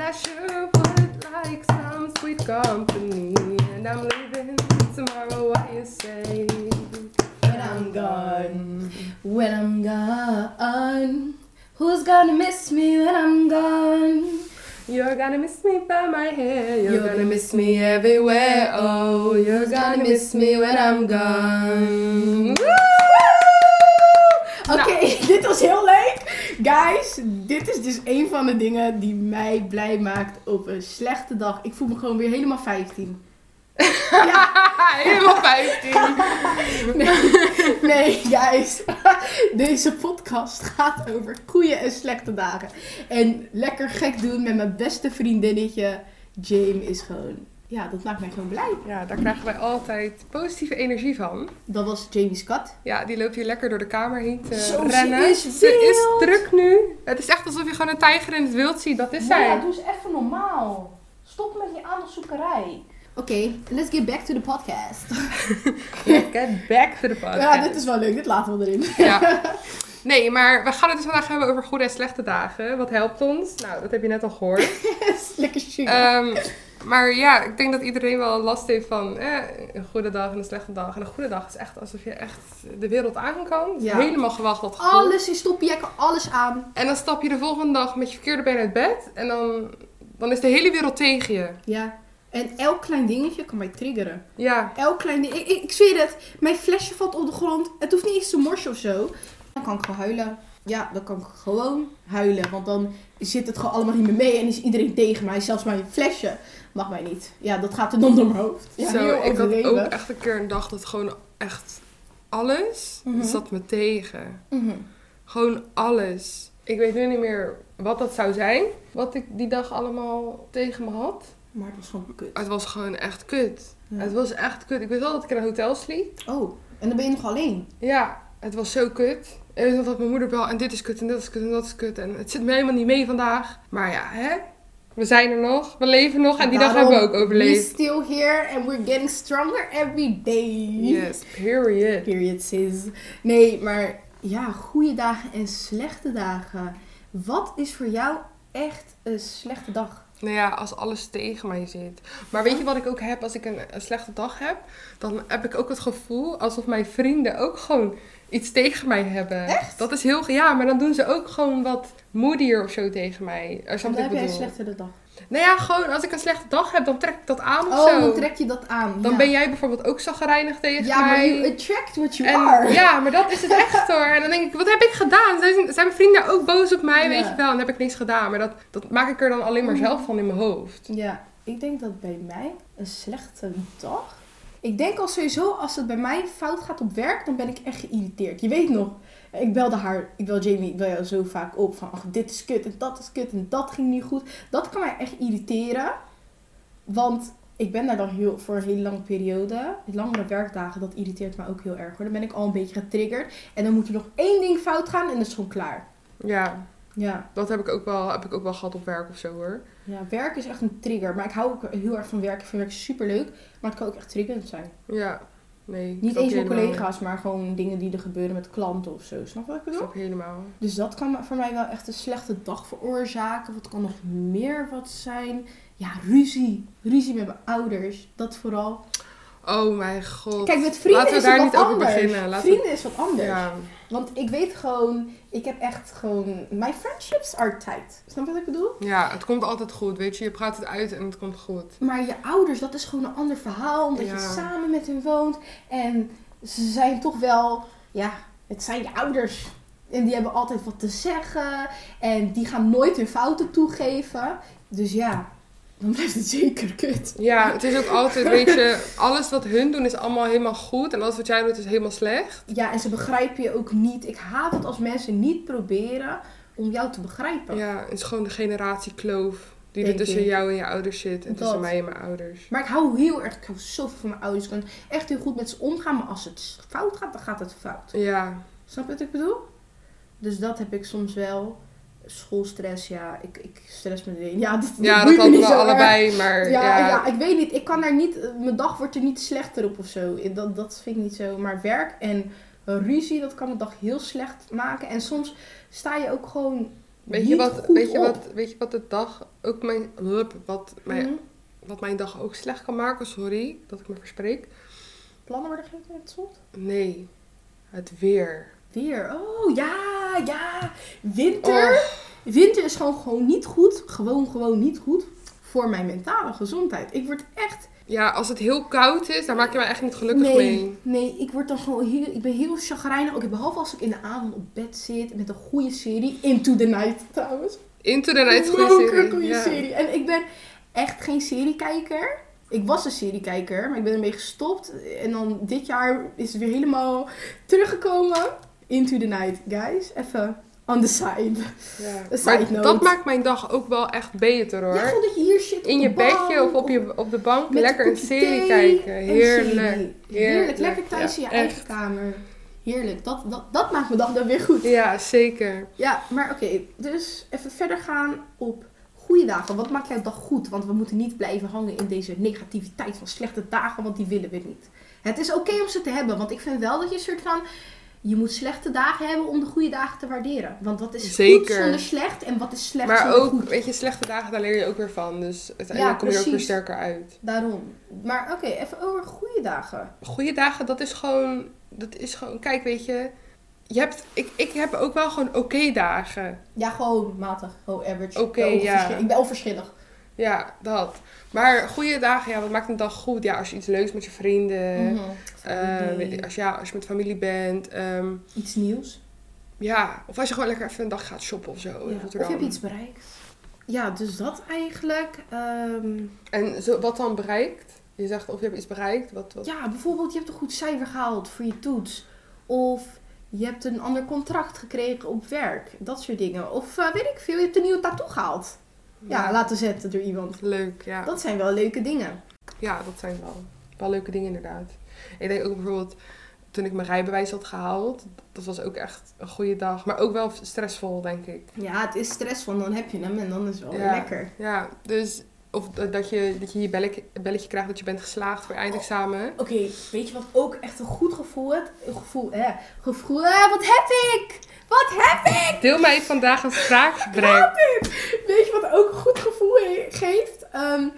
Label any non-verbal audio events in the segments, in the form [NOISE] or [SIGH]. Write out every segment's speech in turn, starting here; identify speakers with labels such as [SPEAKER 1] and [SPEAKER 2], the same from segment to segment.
[SPEAKER 1] I sure would like some sweet company. And I'm leaving tomorrow, what you say? When I'm gone, when I'm gone, who's gonna miss me when I'm gone? You're gonna miss me by my hair. You're, gonna miss me everywhere. Oh, you're gonna miss me when I'm gone. [LAUGHS]
[SPEAKER 2] Oké, [LAUGHS] dit was heel leuk. Guys, dit is dus een van de dingen die mij blij maakt op een slechte dag. Ik voel me gewoon weer helemaal 15.
[SPEAKER 1] Helemaal 15.
[SPEAKER 2] Nee, guys. [LAUGHS] Deze podcast gaat over goede en slechte dagen. En lekker gek doen met mijn beste vriendinnetje. Jame is gewoon... Ja, dat maakt mij gewoon blij.
[SPEAKER 1] Ja, daar krijgen wij altijd positieve energie van.
[SPEAKER 2] Dat was Jamie's kat.
[SPEAKER 1] Ja, die loopt hier lekker door de kamer heen te
[SPEAKER 2] Zo, ze
[SPEAKER 1] rennen.
[SPEAKER 2] is
[SPEAKER 1] Ze
[SPEAKER 2] wild.
[SPEAKER 1] is druk nu. Het is echt alsof je gewoon een tijger in het wild ziet. Dat is zij.
[SPEAKER 2] doe eens even normaal. Stop met die aandachtzoekerij. Oké, let's get back to the podcast.
[SPEAKER 1] Get back to the podcast.
[SPEAKER 2] [LAUGHS] Ja, dit is wel leuk. Dit laten we erin. [LAUGHS]
[SPEAKER 1] Ja. Nee, maar we gaan het dus vandaag hebben over goede en slechte dagen. Wat helpt ons? Nou, dat heb je net al gehoord.
[SPEAKER 2] Lekker chill.
[SPEAKER 1] Ehm, maar ja, ik denk dat iedereen wel last heeft van eh, een goede dag en een slechte dag. En een goede dag is echt alsof je echt de wereld aan kan.
[SPEAKER 2] Ja.
[SPEAKER 1] Helemaal gewachteld. gevoel.
[SPEAKER 2] alles in stopjekken, alles aan.
[SPEAKER 1] En dan stap je de volgende dag met je verkeerde been uit bed. En dan, dan is de hele wereld tegen je.
[SPEAKER 2] Ja. En elk klein dingetje kan mij triggeren.
[SPEAKER 1] Ja,
[SPEAKER 2] Elk klein ding. Ik, ik, ik zweer het. Mijn flesje valt op de grond. Het hoeft niet eens te morsen of zo. Dan kan ik gewoon huilen. Ja, dan kan ik gewoon huilen. Want dan zit het gewoon allemaal niet meer mee. En is iedereen tegen mij. Zelfs mijn flesje mag mij niet. Ja, dat gaat er dan door mijn hoofd. Ja,
[SPEAKER 1] zo,
[SPEAKER 2] heel
[SPEAKER 1] ik had
[SPEAKER 2] overdreven.
[SPEAKER 1] ook echt een keer een dag dat gewoon echt alles
[SPEAKER 2] Mhm.
[SPEAKER 1] zat me tegen.
[SPEAKER 2] Mhm.
[SPEAKER 1] Gewoon alles. Ik weet nu niet meer wat dat zou zijn. Wat ik die dag allemaal tegen me had.
[SPEAKER 2] Maar het was gewoon kut.
[SPEAKER 1] Het was gewoon echt kut.
[SPEAKER 2] Ja.
[SPEAKER 1] Het was echt kut. Ik weet wel dat ik in een hotel sliep.
[SPEAKER 2] Oh, en dan ben je nog alleen.
[SPEAKER 1] Ja, het was zo kut. En ik weet nog dat mijn moeder wel en dit is kut en dat is kut en dat is kut. En het zit me helemaal niet mee vandaag. Maar ja, hè? We zijn er nog. We leven nog. En die dag
[SPEAKER 2] Daarom,
[SPEAKER 1] hebben we ook
[SPEAKER 2] We're
[SPEAKER 1] overleefd.
[SPEAKER 2] still here and we're getting stronger every day.
[SPEAKER 1] Yes, period.
[SPEAKER 2] Period, sis. Nee, maar ja, goede dagen en slechte dagen. Wat is voor jou echt een slechte dag?
[SPEAKER 1] Nou ja, als alles tegen mij zit. Maar weet je wat ik ook heb als ik een, een slechte dag heb? Dan heb ik ook het gevoel alsof mijn vrienden ook gewoon iets tegen mij hebben.
[SPEAKER 2] Echt?
[SPEAKER 1] Dat is heel... ge- Ja, maar dan doen ze ook gewoon wat moedier of zo tegen mij. Er
[SPEAKER 2] Dan
[SPEAKER 1] snap je
[SPEAKER 2] heb
[SPEAKER 1] wat
[SPEAKER 2] jij
[SPEAKER 1] ik
[SPEAKER 2] een
[SPEAKER 1] bedoel?
[SPEAKER 2] slechtere dag.
[SPEAKER 1] Nou ja, gewoon als ik een slechte dag heb, dan trek ik dat aan of
[SPEAKER 2] Oh,
[SPEAKER 1] zo.
[SPEAKER 2] dan trek je dat aan.
[SPEAKER 1] Dan
[SPEAKER 2] ja.
[SPEAKER 1] ben jij bijvoorbeeld ook zagrijnig tegen
[SPEAKER 2] Ja, maar
[SPEAKER 1] mij.
[SPEAKER 2] you attract what you
[SPEAKER 1] en,
[SPEAKER 2] are.
[SPEAKER 1] ja, maar dat is
[SPEAKER 2] [LAUGHS]
[SPEAKER 1] het echt hoor. En dan denk ik, wat heb ik gedaan? Zijn, zijn mijn vrienden ook boos op mij,
[SPEAKER 2] Ja. Mm.
[SPEAKER 1] weet je wel? En dan heb ik niks gedaan. Maar dat, dat maak ik er dan alleen maar zelf van in mijn hoofd.
[SPEAKER 2] Ja, ik denk dat bij mij een slechte dag. Ik denk al sowieso, als het bij mij fout gaat op werk, dan ben ik echt geïrriteerd. Je weet nog, ik belde haar, ik bel Jamie, ik bel jou zo vaak op van, ach, dit is kut en dat is kut en dat ging niet goed. Dat kan mij echt irriteren, want ik ben daar dan heel, voor een hele lange periode. Langere werkdagen, dat irriteert me ook heel erg hoor. Dan ben ik al een beetje getriggerd en dan moet er nog één ding fout gaan en dat is gewoon klaar.
[SPEAKER 1] Ja,
[SPEAKER 2] Ja.
[SPEAKER 1] dat heb ik ook wel, heb ik ook wel gehad op werk of zo hoor.
[SPEAKER 2] Ja, werk is echt een trigger. Maar ik hou ook heel erg van werk. Ik vind werk superleuk. Maar het kan ook echt triggerend zijn.
[SPEAKER 1] Ja, nee. ik
[SPEAKER 2] Niet
[SPEAKER 1] snap
[SPEAKER 2] eens
[SPEAKER 1] je
[SPEAKER 2] door
[SPEAKER 1] helemaal.
[SPEAKER 2] collega's, maar gewoon dingen die er gebeuren met klanten of zo. Snap je wat
[SPEAKER 1] Ik
[SPEAKER 2] ik bedoel?
[SPEAKER 1] snap je helemaal.
[SPEAKER 2] Dus dat kan voor mij wel echt een slechte dag veroorzaken. Wat kan nog meer wat zijn? Ja, ruzie. Ruzie met mijn ouders. Dat vooral.
[SPEAKER 1] Oh mijn god.
[SPEAKER 2] Kijk, met vrienden
[SPEAKER 1] Laten we
[SPEAKER 2] is
[SPEAKER 1] daar
[SPEAKER 2] het
[SPEAKER 1] niet
[SPEAKER 2] wat
[SPEAKER 1] over
[SPEAKER 2] anders.
[SPEAKER 1] beginnen. Laten we-
[SPEAKER 2] vrienden is wat anders.
[SPEAKER 1] ja.
[SPEAKER 2] Want ik weet gewoon, ik heb echt gewoon... My friendships are tight. Snap je wat ik bedoel?
[SPEAKER 1] ja, het komt altijd goed, weet je. Je praat het uit en het komt goed.
[SPEAKER 2] Maar je ouders, dat is gewoon een ander verhaal. Omdat
[SPEAKER 1] Ja.
[SPEAKER 2] je samen met hen woont. En ze zijn toch wel, ja, het zijn je ouders. En die hebben altijd wat te zeggen. En die gaan nooit hun fouten toegeven. Dus ja, dan blijft het zeker kut.
[SPEAKER 1] Ja, het is ook altijd, weet
[SPEAKER 2] [LAUGHS]
[SPEAKER 1] je, alles wat hun doen is allemaal helemaal goed. En alles wat jij doet is helemaal slecht.
[SPEAKER 2] Ja, en ze begrijpen je ook niet. Ik haat het als mensen niet proberen om jou te begrijpen.
[SPEAKER 1] Ja, het is gewoon de generatiekloof die er
[SPEAKER 2] Denk
[SPEAKER 1] tussen
[SPEAKER 2] ik.
[SPEAKER 1] jou en je ouders zit. En tussen
[SPEAKER 2] Dat.
[SPEAKER 1] mij en mijn ouders.
[SPEAKER 2] Maar ik hou heel erg, ik hou zoveel van mijn ouders. Ik kan echt heel goed met ze omgaan. Maar als het fout gaat, dan gaat het fout.
[SPEAKER 1] Ja,
[SPEAKER 2] Snap je wat ik bedoel? Dus dat heb ik soms wel. Schoolstress, ja, ik, ik stress me erin. Ja, dit, dit
[SPEAKER 1] ja dat
[SPEAKER 2] boeit me
[SPEAKER 1] hadden
[SPEAKER 2] niet
[SPEAKER 1] we
[SPEAKER 2] zo erg.
[SPEAKER 1] allebei, maar
[SPEAKER 2] Ja, ja. ik weet niet. Ik kan daar niet, mijn dag wordt er niet slechter op of zo. Ik- Dat, dat vind ik niet zo. Maar werk en ruzie, dat kan mijn dag heel slecht maken. En soms sta je ook gewoon
[SPEAKER 1] Weet
[SPEAKER 2] niet
[SPEAKER 1] je, wat,
[SPEAKER 2] goed
[SPEAKER 1] weet, je
[SPEAKER 2] op.
[SPEAKER 1] wat, weet je wat de dag ook mijn, hup, wat, mijn,
[SPEAKER 2] Mhm.
[SPEAKER 1] wat mijn dag ook slecht kan maken? Sorry dat ik me verspreek.
[SPEAKER 2] Plannen worden gegeven in het slot?
[SPEAKER 1] Nee, het weer.
[SPEAKER 2] Weer. Oh ja, ja.
[SPEAKER 1] Oh,
[SPEAKER 2] Winter. Winter is gewoon, gewoon niet goed. Gewoon, gewoon niet goed voor mijn mentale gezondheid. Ik word echt.
[SPEAKER 1] Ja, als het heel koud is, daar maak je me echt niet gelukkig
[SPEAKER 2] nee,
[SPEAKER 1] mee.
[SPEAKER 2] nee, ik word dan gewoon heel. Ik ben heel chagrijnig. Oké, behalve als ik in de avond op bed zit met een goede serie. Into the Night trouwens.
[SPEAKER 1] Into the night is een goede
[SPEAKER 2] Leuke,
[SPEAKER 1] serie.
[SPEAKER 2] goede
[SPEAKER 1] ja.
[SPEAKER 2] serie. En ik ben echt geen seriekijker. Ik was een seriekijker, maar ik ben ermee gestopt. En dan dit jaar is het weer helemaal teruggekomen. Into the Night, guys. Even on the side.
[SPEAKER 1] Ja.
[SPEAKER 2] Een side
[SPEAKER 1] Maar
[SPEAKER 2] note.
[SPEAKER 1] dat maakt mijn dag ook wel echt beter hoor.
[SPEAKER 2] Ja, gewoon dat je hier zit op
[SPEAKER 1] In je
[SPEAKER 2] de bank
[SPEAKER 1] bedje of op, je, op de bank
[SPEAKER 2] met
[SPEAKER 1] lekker een
[SPEAKER 2] kopje
[SPEAKER 1] serie
[SPEAKER 2] thee
[SPEAKER 1] kijken.
[SPEAKER 2] en
[SPEAKER 1] Heerlijk.
[SPEAKER 2] serie. Heerlijk, lekker
[SPEAKER 1] Heerlijk,
[SPEAKER 2] thuis
[SPEAKER 1] ja,
[SPEAKER 2] in je eigen
[SPEAKER 1] echt.
[SPEAKER 2] kamer. Heerlijk, dat, dat, dat maakt mijn dag dan weer goed.
[SPEAKER 1] Ja, zeker.
[SPEAKER 2] Ja, maar oké, dus even verder gaan op goede dagen. Wat maakt jouw dag goed? Want we moeten niet blijven hangen in deze negativiteit van slechte dagen, want die willen we niet. Het is oké om ze te hebben, want ik vind wel dat je een soort van... Je moet slechte dagen hebben om de goede dagen te waarderen. Want wat is goed
[SPEAKER 1] Zeker.
[SPEAKER 2] zonder slecht en wat is slecht
[SPEAKER 1] maar
[SPEAKER 2] zonder
[SPEAKER 1] ook,
[SPEAKER 2] goed?
[SPEAKER 1] weet je, slechte dagen, daar leer je ook weer van. Dus uiteindelijk kom je er ook weer
[SPEAKER 2] precies.
[SPEAKER 1] sterker uit.
[SPEAKER 2] Daarom. Maar oké, even over goede dagen.
[SPEAKER 1] Goede dagen, dat is gewoon, dat is gewoon, kijk, weet je. je hebt, ik, ik heb ook wel gewoon oké dagen.
[SPEAKER 2] Ja, gewoon matig. Gewoon average.
[SPEAKER 1] Oké,
[SPEAKER 2] Ik ben
[SPEAKER 1] ja.
[SPEAKER 2] onverschillig- Ik ben onverschillig.
[SPEAKER 1] Ja, dat. Maar goede dagen, ja, wat maakt een dag goed? Ja, als je iets leuks met je vrienden,
[SPEAKER 2] Mhm.
[SPEAKER 1] eh,
[SPEAKER 2] Oké.
[SPEAKER 1] weet ik, als, je- ja, als je met familie bent. ehm,
[SPEAKER 2] Iets nieuws.
[SPEAKER 1] ja, of als je gewoon lekker even een dag gaat shoppen of zo. in
[SPEAKER 2] Ja. Of
[SPEAKER 1] Rotterdam.
[SPEAKER 2] heb je iets bereikt? Ja, dus dat eigenlijk. Ehm,
[SPEAKER 1] En zo, wat dan bereikt? Je zegt of je hebt iets bereikt. Wat, wat...
[SPEAKER 2] ja, bijvoorbeeld je hebt een goed cijfer gehaald voor je toets. Of je hebt een ander contract gekregen op werk. Dat soort dingen. Of eh, weet ik veel, je hebt een nieuwe tattoo gehaald. Ja, laten zetten door iemand.
[SPEAKER 1] Leuk, ja.
[SPEAKER 2] Dat zijn wel leuke dingen.
[SPEAKER 1] Ja, dat zijn wel, wel leuke dingen inderdaad. Ik denk ook bijvoorbeeld toen ik mijn rijbewijs had gehaald. Dat was ook echt een goede dag. Maar ook wel stressvol, denk ik.
[SPEAKER 2] Ja, het is stressvol, dan heb je hem en dan is het wel weer
[SPEAKER 1] Ja.
[SPEAKER 2] lekker.
[SPEAKER 1] Ja, dus... Of dat dat je, dat je je belletje, belletje krijgt dat je bent geslaagd voor je eindexamen.
[SPEAKER 2] Oké, weet je wat ook echt een goed gevoel heeft? Een gevoel, hè? Gevoel, hè? Wat heb ik? Wat heb ik?
[SPEAKER 1] Deel mij vandaag
[SPEAKER 2] [LAUGHS]
[SPEAKER 1] een spraakgebrek.
[SPEAKER 2] Weet je wat ook een goed gevoel he- geeft? Ehm,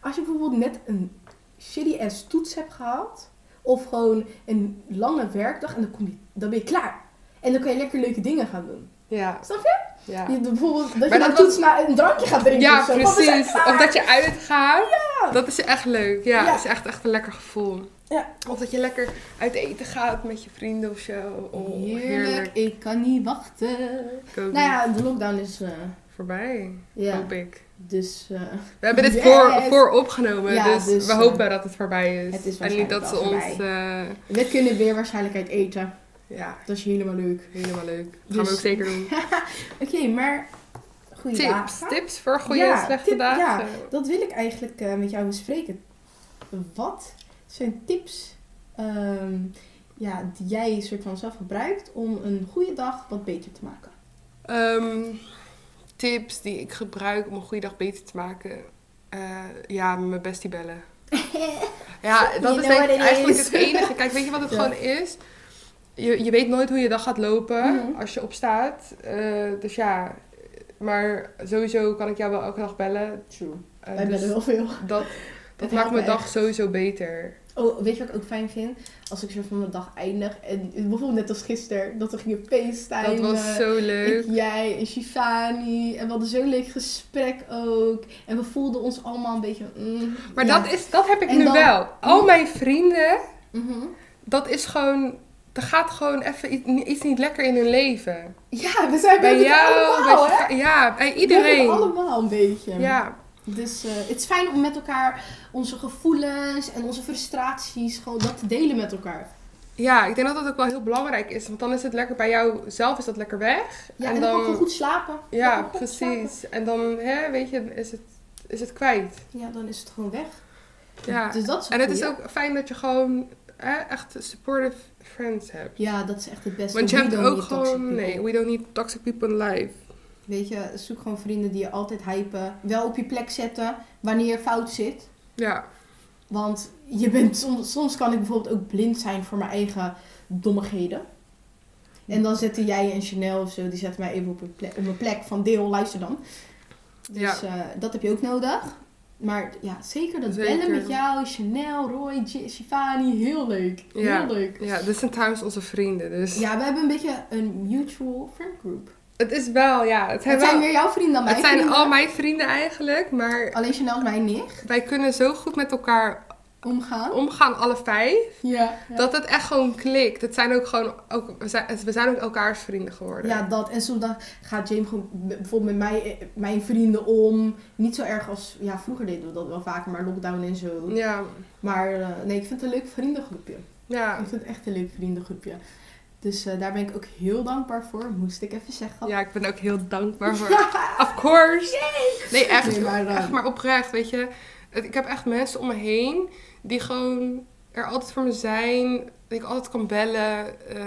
[SPEAKER 2] als je bijvoorbeeld net een shitty ass toets hebt gehaald. Of gewoon een lange werkdag en dan, kom je, dan ben je klaar. En dan kan je lekker leuke dingen gaan doen.
[SPEAKER 1] Ja.
[SPEAKER 2] Snap
[SPEAKER 1] Ja,
[SPEAKER 2] Je, bijvoorbeeld dat
[SPEAKER 1] dat
[SPEAKER 2] je na
[SPEAKER 1] was-
[SPEAKER 2] toets na een drankje gaat drinken of
[SPEAKER 1] ja
[SPEAKER 2] zo. Want we zijn
[SPEAKER 1] precies.
[SPEAKER 2] klaar.
[SPEAKER 1] Of dat je uitgaat. Dat is echt leuk. Ja,
[SPEAKER 2] Ja.
[SPEAKER 1] dat is echt, echt een lekker gevoel.
[SPEAKER 2] Ja.
[SPEAKER 1] Of dat je lekker uit eten gaat met je vrienden of zo. Oh, heerlijk.
[SPEAKER 2] ik kan niet wachten.
[SPEAKER 1] Ik ook
[SPEAKER 2] Nou
[SPEAKER 1] niet.
[SPEAKER 2] ja, de lockdown is... eh,
[SPEAKER 1] Voorbij,
[SPEAKER 2] ja,
[SPEAKER 1] hoop ik.
[SPEAKER 2] dus... eh,
[SPEAKER 1] We hebben dit
[SPEAKER 2] Yes.
[SPEAKER 1] voor, voor opgenomen,
[SPEAKER 2] Ja,
[SPEAKER 1] dus,
[SPEAKER 2] dus,
[SPEAKER 1] we
[SPEAKER 2] eh,
[SPEAKER 1] hopen dat het voorbij is.
[SPEAKER 2] het is
[SPEAKER 1] en niet dat ze
[SPEAKER 2] waarschijnlijk wel
[SPEAKER 1] ons... eh,
[SPEAKER 2] we kunnen weer waarschijnlijk uit eten.
[SPEAKER 1] ja,
[SPEAKER 2] Dat is helemaal leuk.
[SPEAKER 1] helemaal leuk. Dat gaan
[SPEAKER 2] Dus-
[SPEAKER 1] we ook zeker
[SPEAKER 2] [LAUGHS]
[SPEAKER 1] doen.
[SPEAKER 2] Oké, maar... Goeie
[SPEAKER 1] Tips,
[SPEAKER 2] dagen.
[SPEAKER 1] tips voor goede
[SPEAKER 2] Ja,
[SPEAKER 1] en slechte
[SPEAKER 2] tip-
[SPEAKER 1] dagen.
[SPEAKER 2] Dat wil ik eigenlijk eh, met jou bespreken. Wat zijn tips ehm, ja, die jij soort van zelf gebruikt om een goede dag wat beter te
[SPEAKER 1] [LAUGHS]
[SPEAKER 2] maken?
[SPEAKER 1] Ehm, tips die ik gebruik om een goede dag beter te maken. Eh, ja, mijn bestie bellen. Ja, dat
[SPEAKER 2] You
[SPEAKER 1] is
[SPEAKER 2] know
[SPEAKER 1] denk
[SPEAKER 2] what
[SPEAKER 1] ik
[SPEAKER 2] it
[SPEAKER 1] eigenlijk
[SPEAKER 2] is.
[SPEAKER 1] het enige. Kijk, weet je wat het
[SPEAKER 2] [LAUGHS] Ja.
[SPEAKER 1] gewoon is? Je, je weet nooit hoe je dag gaat lopen
[SPEAKER 2] Mhm.
[SPEAKER 1] als je opstaat. Eh, dus ja, maar sowieso kan ik jou wel elke dag bellen.
[SPEAKER 2] True.
[SPEAKER 1] Eh,
[SPEAKER 2] Wij
[SPEAKER 1] dus
[SPEAKER 2] bellen heel veel. [LAUGHS]
[SPEAKER 1] Dat, dat
[SPEAKER 2] Het
[SPEAKER 1] maakt
[SPEAKER 2] helpt
[SPEAKER 1] mijn
[SPEAKER 2] me
[SPEAKER 1] dag sowieso beter.
[SPEAKER 2] Oh, weet je wat ik ook fijn vind? Als ik soort van mijn dag eindig en bijvoorbeeld net als gisteren dat we gingen FaceTime.
[SPEAKER 1] Dat was zo leuk.
[SPEAKER 2] Ik, jij en Shivani. En we hadden zo'n leuk gesprek ook. En we voelden ons allemaal een beetje... mm,
[SPEAKER 1] Maar
[SPEAKER 2] ja.
[SPEAKER 1] dat, is, dat heb ik
[SPEAKER 2] En
[SPEAKER 1] nu
[SPEAKER 2] dan- Mm.
[SPEAKER 1] wel. Al mijn vrienden,
[SPEAKER 2] Mhm.
[SPEAKER 1] dat is gewoon... Er gaat gewoon even iets, iets niet lekker in hun leven.
[SPEAKER 2] Ja, we zijn
[SPEAKER 1] Bij
[SPEAKER 2] bij
[SPEAKER 1] jou,
[SPEAKER 2] allemaal,
[SPEAKER 1] bij
[SPEAKER 2] hè?
[SPEAKER 1] je- ja, bij
[SPEAKER 2] We hebben het
[SPEAKER 1] iedereen.
[SPEAKER 2] allemaal een beetje.
[SPEAKER 1] Ja,
[SPEAKER 2] Dus eh, het is fijn om met elkaar onze gevoelens en onze frustraties gewoon dat te delen met elkaar.
[SPEAKER 1] ja, ik denk dat dat ook wel heel belangrijk is. Want dan is het lekker bij jou zelf, is dat lekker weg.
[SPEAKER 2] Ja,
[SPEAKER 1] En
[SPEAKER 2] en, dan kan
[SPEAKER 1] dan-
[SPEAKER 2] ik gewoon goed slapen. Dan
[SPEAKER 1] Ja,
[SPEAKER 2] kan ik goed slapen.
[SPEAKER 1] precies. En dan, hè, weet je, is het, is het kwijt.
[SPEAKER 2] Ja, dan is het gewoon weg.
[SPEAKER 1] Ja.
[SPEAKER 2] Dus dat is
[SPEAKER 1] En het is
[SPEAKER 2] goeie.
[SPEAKER 1] ook fijn dat je gewoon hè, echt supportive friends hebt.
[SPEAKER 2] Ja, dat is echt het beste.
[SPEAKER 1] Want je
[SPEAKER 2] Dus We
[SPEAKER 1] hebt
[SPEAKER 2] don't
[SPEAKER 1] ook
[SPEAKER 2] need toxic
[SPEAKER 1] gewoon,
[SPEAKER 2] people.
[SPEAKER 1] nee, we don't need toxic people in life.
[SPEAKER 2] Weet je, zoek gewoon vrienden die je altijd hypen. Wel op je plek zetten wanneer je fout zit.
[SPEAKER 1] Ja,
[SPEAKER 2] Want je bent, soms, soms kan ik bijvoorbeeld ook blind zijn voor mijn eigen dommigheden. En dan zetten jij en Chanel of zo, die zetten mij even op mijn plek, op mijn plek van deel, luister dan. Dus eh, dat heb je ook nodig. Maar ja, zeker dat
[SPEAKER 1] Zeker.
[SPEAKER 2] bellen met jou, Chanel, Roy, Gi- Shivani, heel leuk. Heel
[SPEAKER 1] Ja.
[SPEAKER 2] leuk.
[SPEAKER 1] Ja, dit zijn trouwens onze vrienden, dus...
[SPEAKER 2] Ja, we hebben een beetje een mutual friend group.
[SPEAKER 1] Het is wel, ja. Het,
[SPEAKER 2] Het
[SPEAKER 1] zijn
[SPEAKER 2] zijn
[SPEAKER 1] wel-
[SPEAKER 2] meer jouw vrienden dan mijn
[SPEAKER 1] het zijn
[SPEAKER 2] vrienden.
[SPEAKER 1] al mijn vrienden eigenlijk, maar
[SPEAKER 2] Alleen Chanel is mijn nicht.
[SPEAKER 1] wij kunnen zo goed met elkaar
[SPEAKER 2] Omgaan.
[SPEAKER 1] omgaan, alle vijf,
[SPEAKER 2] Ja. Ja.
[SPEAKER 1] dat het echt gewoon klikt. Het zijn ook gewoon, ook, we, zijn, we zijn ook elkaars vrienden geworden.
[SPEAKER 2] Ja, dat. En soms dan gaat James gewoon b- bijvoorbeeld met mij, eh, mijn vrienden om. Niet zo erg als... Ja, vroeger deden we dat wel vaker, maar lockdown en zo.
[SPEAKER 1] Ja,
[SPEAKER 2] Maar eh, nee, ik vind het een leuk vriendengroepje.
[SPEAKER 1] ja.
[SPEAKER 2] Ik vind het echt een leuk vriendengroepje. Dus eh, daar ben ik ook heel dankbaar voor, moest ik even zeggen.
[SPEAKER 1] Ja, ik ben ook heel dankbaar voor. Of course! Nee, echt,
[SPEAKER 2] Nee, maar,
[SPEAKER 1] maar,
[SPEAKER 2] eh,
[SPEAKER 1] echt maar oprecht, weet je. Het- Ik heb echt mensen om me heen die gewoon er altijd voor me zijn. Die ik altijd kan bellen. Eh,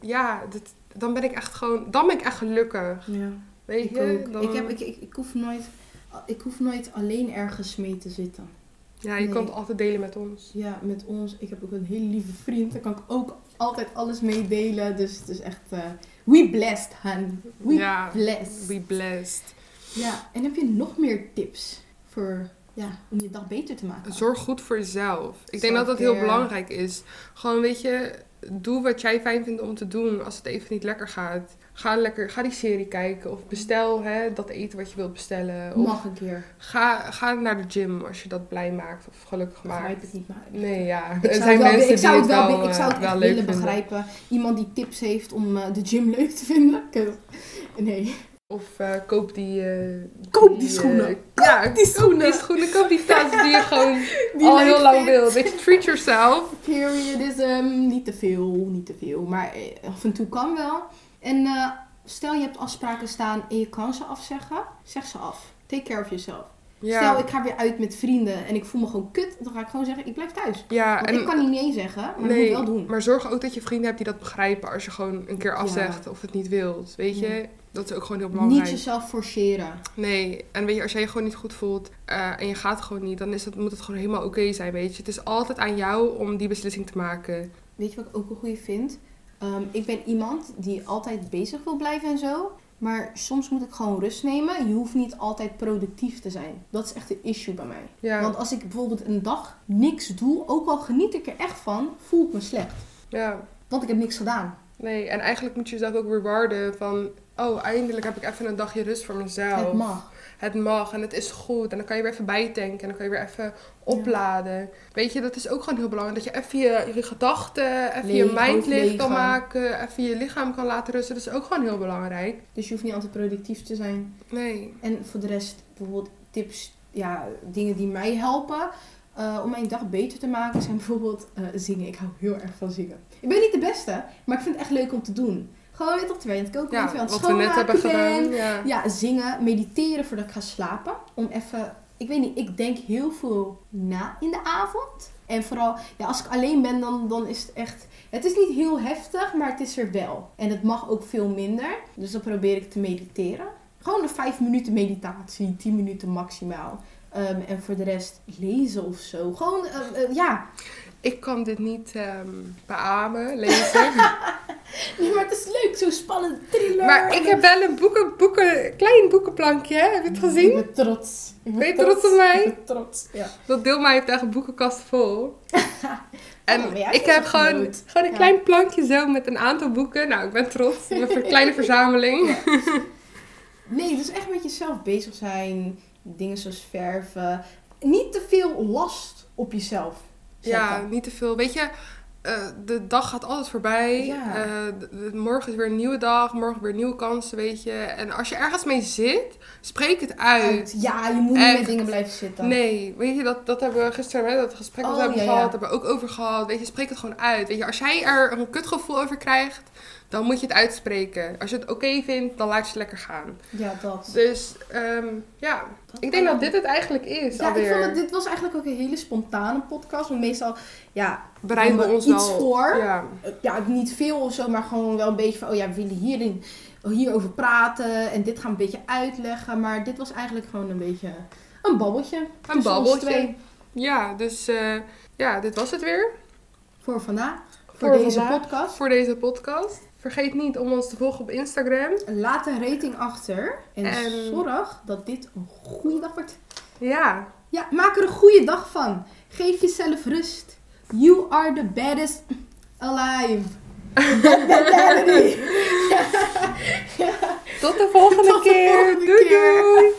[SPEAKER 1] ja, dit- dan ben ik echt gewoon... Dan ben ik echt gelukkig.
[SPEAKER 2] Ja,
[SPEAKER 1] Weet
[SPEAKER 2] ik
[SPEAKER 1] je?
[SPEAKER 2] ook.
[SPEAKER 1] Dan-
[SPEAKER 2] Ik, heb, ik, ik, ik hoef nooit, ik hoef nooit alleen ergens mee te zitten.
[SPEAKER 1] ja, je
[SPEAKER 2] nee.
[SPEAKER 1] kan het altijd delen met ons.
[SPEAKER 2] Ja, met ons. Ik heb ook een hele lieve vriend. Daar kan ik ook altijd alles mee delen. Dus het is echt... eh, we blessed, Han. We
[SPEAKER 1] Ja,
[SPEAKER 2] blessed.
[SPEAKER 1] Be blessed.
[SPEAKER 2] Ja, en heb je nog meer tips voor, ja, om je dag beter te maken?
[SPEAKER 1] Zorg goed voor jezelf. Ik denk dat dat heel
[SPEAKER 2] Self-care.
[SPEAKER 1] belangrijk is. Gewoon, weet je... Doe wat jij fijn vindt om te doen als het even niet lekker gaat. Ga, lekker, ga die serie kijken. Of bestel hè, dat eten wat je wilt bestellen. Of
[SPEAKER 2] Mag een keer.
[SPEAKER 1] Ga, ga naar de gym als je dat blij maakt of gelukkig
[SPEAKER 2] Begrijp
[SPEAKER 1] maakt.
[SPEAKER 2] het niet, maar...
[SPEAKER 1] Nee, ja.
[SPEAKER 2] Ik
[SPEAKER 1] er
[SPEAKER 2] zou, het
[SPEAKER 1] zijn
[SPEAKER 2] wel,
[SPEAKER 1] mensen
[SPEAKER 2] ik zou
[SPEAKER 1] die
[SPEAKER 2] het wel, ik
[SPEAKER 1] eh,
[SPEAKER 2] zou het echt
[SPEAKER 1] wel leuk
[SPEAKER 2] willen
[SPEAKER 1] vinden.
[SPEAKER 2] begrijpen. Iemand die tips heeft om eh, de gym leuk te vinden. Ik heb- Nee.
[SPEAKER 1] Of eh, koop die... eh,
[SPEAKER 2] Koop die
[SPEAKER 1] eh,
[SPEAKER 2] schoenen.
[SPEAKER 1] ja,
[SPEAKER 2] die schoenen.
[SPEAKER 1] koop die schoenen. Koop
[SPEAKER 2] [LAUGHS]
[SPEAKER 1] die tas [LAUGHS] die je gewoon
[SPEAKER 2] Die
[SPEAKER 1] al
[SPEAKER 2] leuk
[SPEAKER 1] heel lang
[SPEAKER 2] vindt.
[SPEAKER 1] wil. Weet je, treat yourself.
[SPEAKER 2] Periodism, niet te veel, niet te veel. Maar eh, af en toe kan wel. En eh, stel je hebt afspraken staan en je kan ze afzeggen, zeg ze af. Take care of yourself.
[SPEAKER 1] Ja,
[SPEAKER 2] Stel ik ga weer uit met vrienden en ik voel me gewoon kut, dan ga ik gewoon zeggen ik blijf thuis.
[SPEAKER 1] ja
[SPEAKER 2] Want
[SPEAKER 1] en...
[SPEAKER 2] ik kan niet nee zeggen, maar
[SPEAKER 1] nee,
[SPEAKER 2] ik moet wel doen.
[SPEAKER 1] maar zorg ook dat je vrienden hebt die dat begrijpen als je gewoon een keer
[SPEAKER 2] Ja.
[SPEAKER 1] afzegt of het niet wilt. Weet je, dat is ook gewoon heel
[SPEAKER 2] Niet
[SPEAKER 1] belangrijk.
[SPEAKER 2] jezelf forceren.
[SPEAKER 1] Nee, en weet je, als jij je gewoon niet goed voelt eh, en je gaat gewoon niet, dan is dat, moet het gewoon helemaal oké zijn, weet je. Het is altijd aan jou om die beslissing te maken.
[SPEAKER 2] Weet je wat ik ook een goede vind? Ehm, ik ben iemand die altijd bezig wil blijven en zo. Maar soms moet ik gewoon rust nemen. Je hoeft niet altijd productief te zijn. Dat is echt een issue bij mij.
[SPEAKER 1] Ja,
[SPEAKER 2] Want als ik bijvoorbeeld een dag niks doe, ook al geniet ik er echt van, voel ik me slecht.
[SPEAKER 1] ja.
[SPEAKER 2] Want ik heb niks gedaan.
[SPEAKER 1] Nee, en eigenlijk moet je jezelf ook rewarden van... Oh, eindelijk heb ik even een dagje rust voor mezelf.
[SPEAKER 2] Het mag.
[SPEAKER 1] Het mag en het is goed. En dan kan je weer even bijtanken en dan kan je weer even opladen. Weet je, dat is ook gewoon heel belangrijk. Dat je even je, je gedachten, even je
[SPEAKER 2] Leeg,
[SPEAKER 1] mind
[SPEAKER 2] hoofd
[SPEAKER 1] leeg
[SPEAKER 2] leeg
[SPEAKER 1] kan
[SPEAKER 2] gaan.
[SPEAKER 1] maken. Even je lichaam kan laten rusten. Dat is ook gewoon heel belangrijk.
[SPEAKER 2] Dus je hoeft niet altijd productief te zijn.
[SPEAKER 1] Nee.
[SPEAKER 2] En voor de rest, bijvoorbeeld tips, ja, dingen die mij helpen eh, om mijn dag beter te maken, zijn bijvoorbeeld eh, zingen. Ik hou heel erg van zingen. Ik ben niet de beste, maar ik vind het echt leuk om te doen. Gewoon weer tot twee, want ik ook weer
[SPEAKER 1] Ja,
[SPEAKER 2] aan het
[SPEAKER 1] wat we net hebben
[SPEAKER 2] schoonmaken ben.
[SPEAKER 1] gedaan. Ja.
[SPEAKER 2] Ja, zingen, mediteren voordat ik ga slapen. Om even, ik weet niet, ik denk heel veel na in de avond. En vooral, ja, als ik alleen ben, dan, dan is het echt. Het is niet heel heftig, maar het is er wel. En het mag ook veel minder. Dus dan probeer ik te mediteren. Gewoon een 5 minuten meditatie, 10 minuten maximaal. Ehm, en voor de rest lezen of zo. Gewoon, eh, eh, ja.
[SPEAKER 1] Ik kan dit niet ehm, beamen, lezen.
[SPEAKER 2] Nee, Maar het is leuk, zo'n spannend thriller.
[SPEAKER 1] maar ik heb wel een boeken, boeken, klein boekenplankje, hè? heb je het gezien?
[SPEAKER 2] Ik ben trots. Ik
[SPEAKER 1] Ben je trots op mij?
[SPEAKER 2] Ik ben trots, ja.
[SPEAKER 1] Dat deel mij heeft echt een boekenkast
[SPEAKER 2] [LAUGHS]
[SPEAKER 1] vol. En
[SPEAKER 2] Oh, maar jij
[SPEAKER 1] ik
[SPEAKER 2] hebt het
[SPEAKER 1] heb
[SPEAKER 2] echt
[SPEAKER 1] gewoon,
[SPEAKER 2] genoten.
[SPEAKER 1] gewoon een
[SPEAKER 2] Ja.
[SPEAKER 1] klein plankje zo met een aantal boeken. Nou, ik ben trots. Mijn ver-
[SPEAKER 2] [LAUGHS]
[SPEAKER 1] kleine verzameling.
[SPEAKER 2] Nee, dus echt met jezelf bezig zijn. Dingen zoals verven. Niet te veel last op jezelf.
[SPEAKER 1] Ja,
[SPEAKER 2] zetten.
[SPEAKER 1] niet te veel. Weet je, eh, de dag gaat altijd voorbij.
[SPEAKER 2] Ja.
[SPEAKER 1] Eh, de- de- morgen is weer een nieuwe dag. Morgen weer nieuwe kansen, weet je. En als je ergens mee zit, spreek het uit.
[SPEAKER 2] Uit. Ja, je moet niet
[SPEAKER 1] Echt.
[SPEAKER 2] met dingen blijven zitten.
[SPEAKER 1] Nee, weet je, dat, dat hebben we gisteren, hè, dat gesprek dat we
[SPEAKER 2] Oh,
[SPEAKER 1] hebben
[SPEAKER 2] ja,
[SPEAKER 1] gehad,
[SPEAKER 2] ja.
[SPEAKER 1] hebben we ook over gehad. Weet je, spreek het gewoon uit. Weet je, als jij er een kutgevoel over krijgt, dan moet je het uitspreken. Als je het oké vindt, dan laat je het lekker gaan.
[SPEAKER 2] Ja, dat.
[SPEAKER 1] Dus ehm, ja, ik denk dat dit het eigenlijk is
[SPEAKER 2] Ja, ik
[SPEAKER 1] alweer.
[SPEAKER 2] vond dat dit was eigenlijk ook een hele spontane podcast. Want meestal, ja,
[SPEAKER 1] Bereiden we
[SPEAKER 2] doen
[SPEAKER 1] ons
[SPEAKER 2] iets
[SPEAKER 1] wel-
[SPEAKER 2] voor.
[SPEAKER 1] Ja,
[SPEAKER 2] eh, ja, niet veel of zo, maar gewoon wel een beetje van, oh ja, we willen hierin, hierover praten. En dit gaan we een beetje uitleggen. Maar dit was eigenlijk gewoon een beetje een babbeltje. tussen ons
[SPEAKER 1] babbeltje.
[SPEAKER 2] twee
[SPEAKER 1] ja dus eh, ja, dit was het weer
[SPEAKER 2] Voor vandaag. Voor,
[SPEAKER 1] Voor
[SPEAKER 2] deze
[SPEAKER 1] vandaag.
[SPEAKER 2] podcast.
[SPEAKER 1] voor deze podcast. Vergeet niet om ons te volgen op Instagram.
[SPEAKER 2] Laat een rating achter. En,
[SPEAKER 1] En-
[SPEAKER 2] zorg dat dit een goede dag wordt.
[SPEAKER 1] Ja,
[SPEAKER 2] Ja, maak er een goede dag van. Geef jezelf rust. You are the baddest alive.
[SPEAKER 1] tot de volgende
[SPEAKER 2] Tot de
[SPEAKER 1] keer.
[SPEAKER 2] volgende [LAUGHS]
[SPEAKER 1] doei
[SPEAKER 2] keer.
[SPEAKER 1] doei.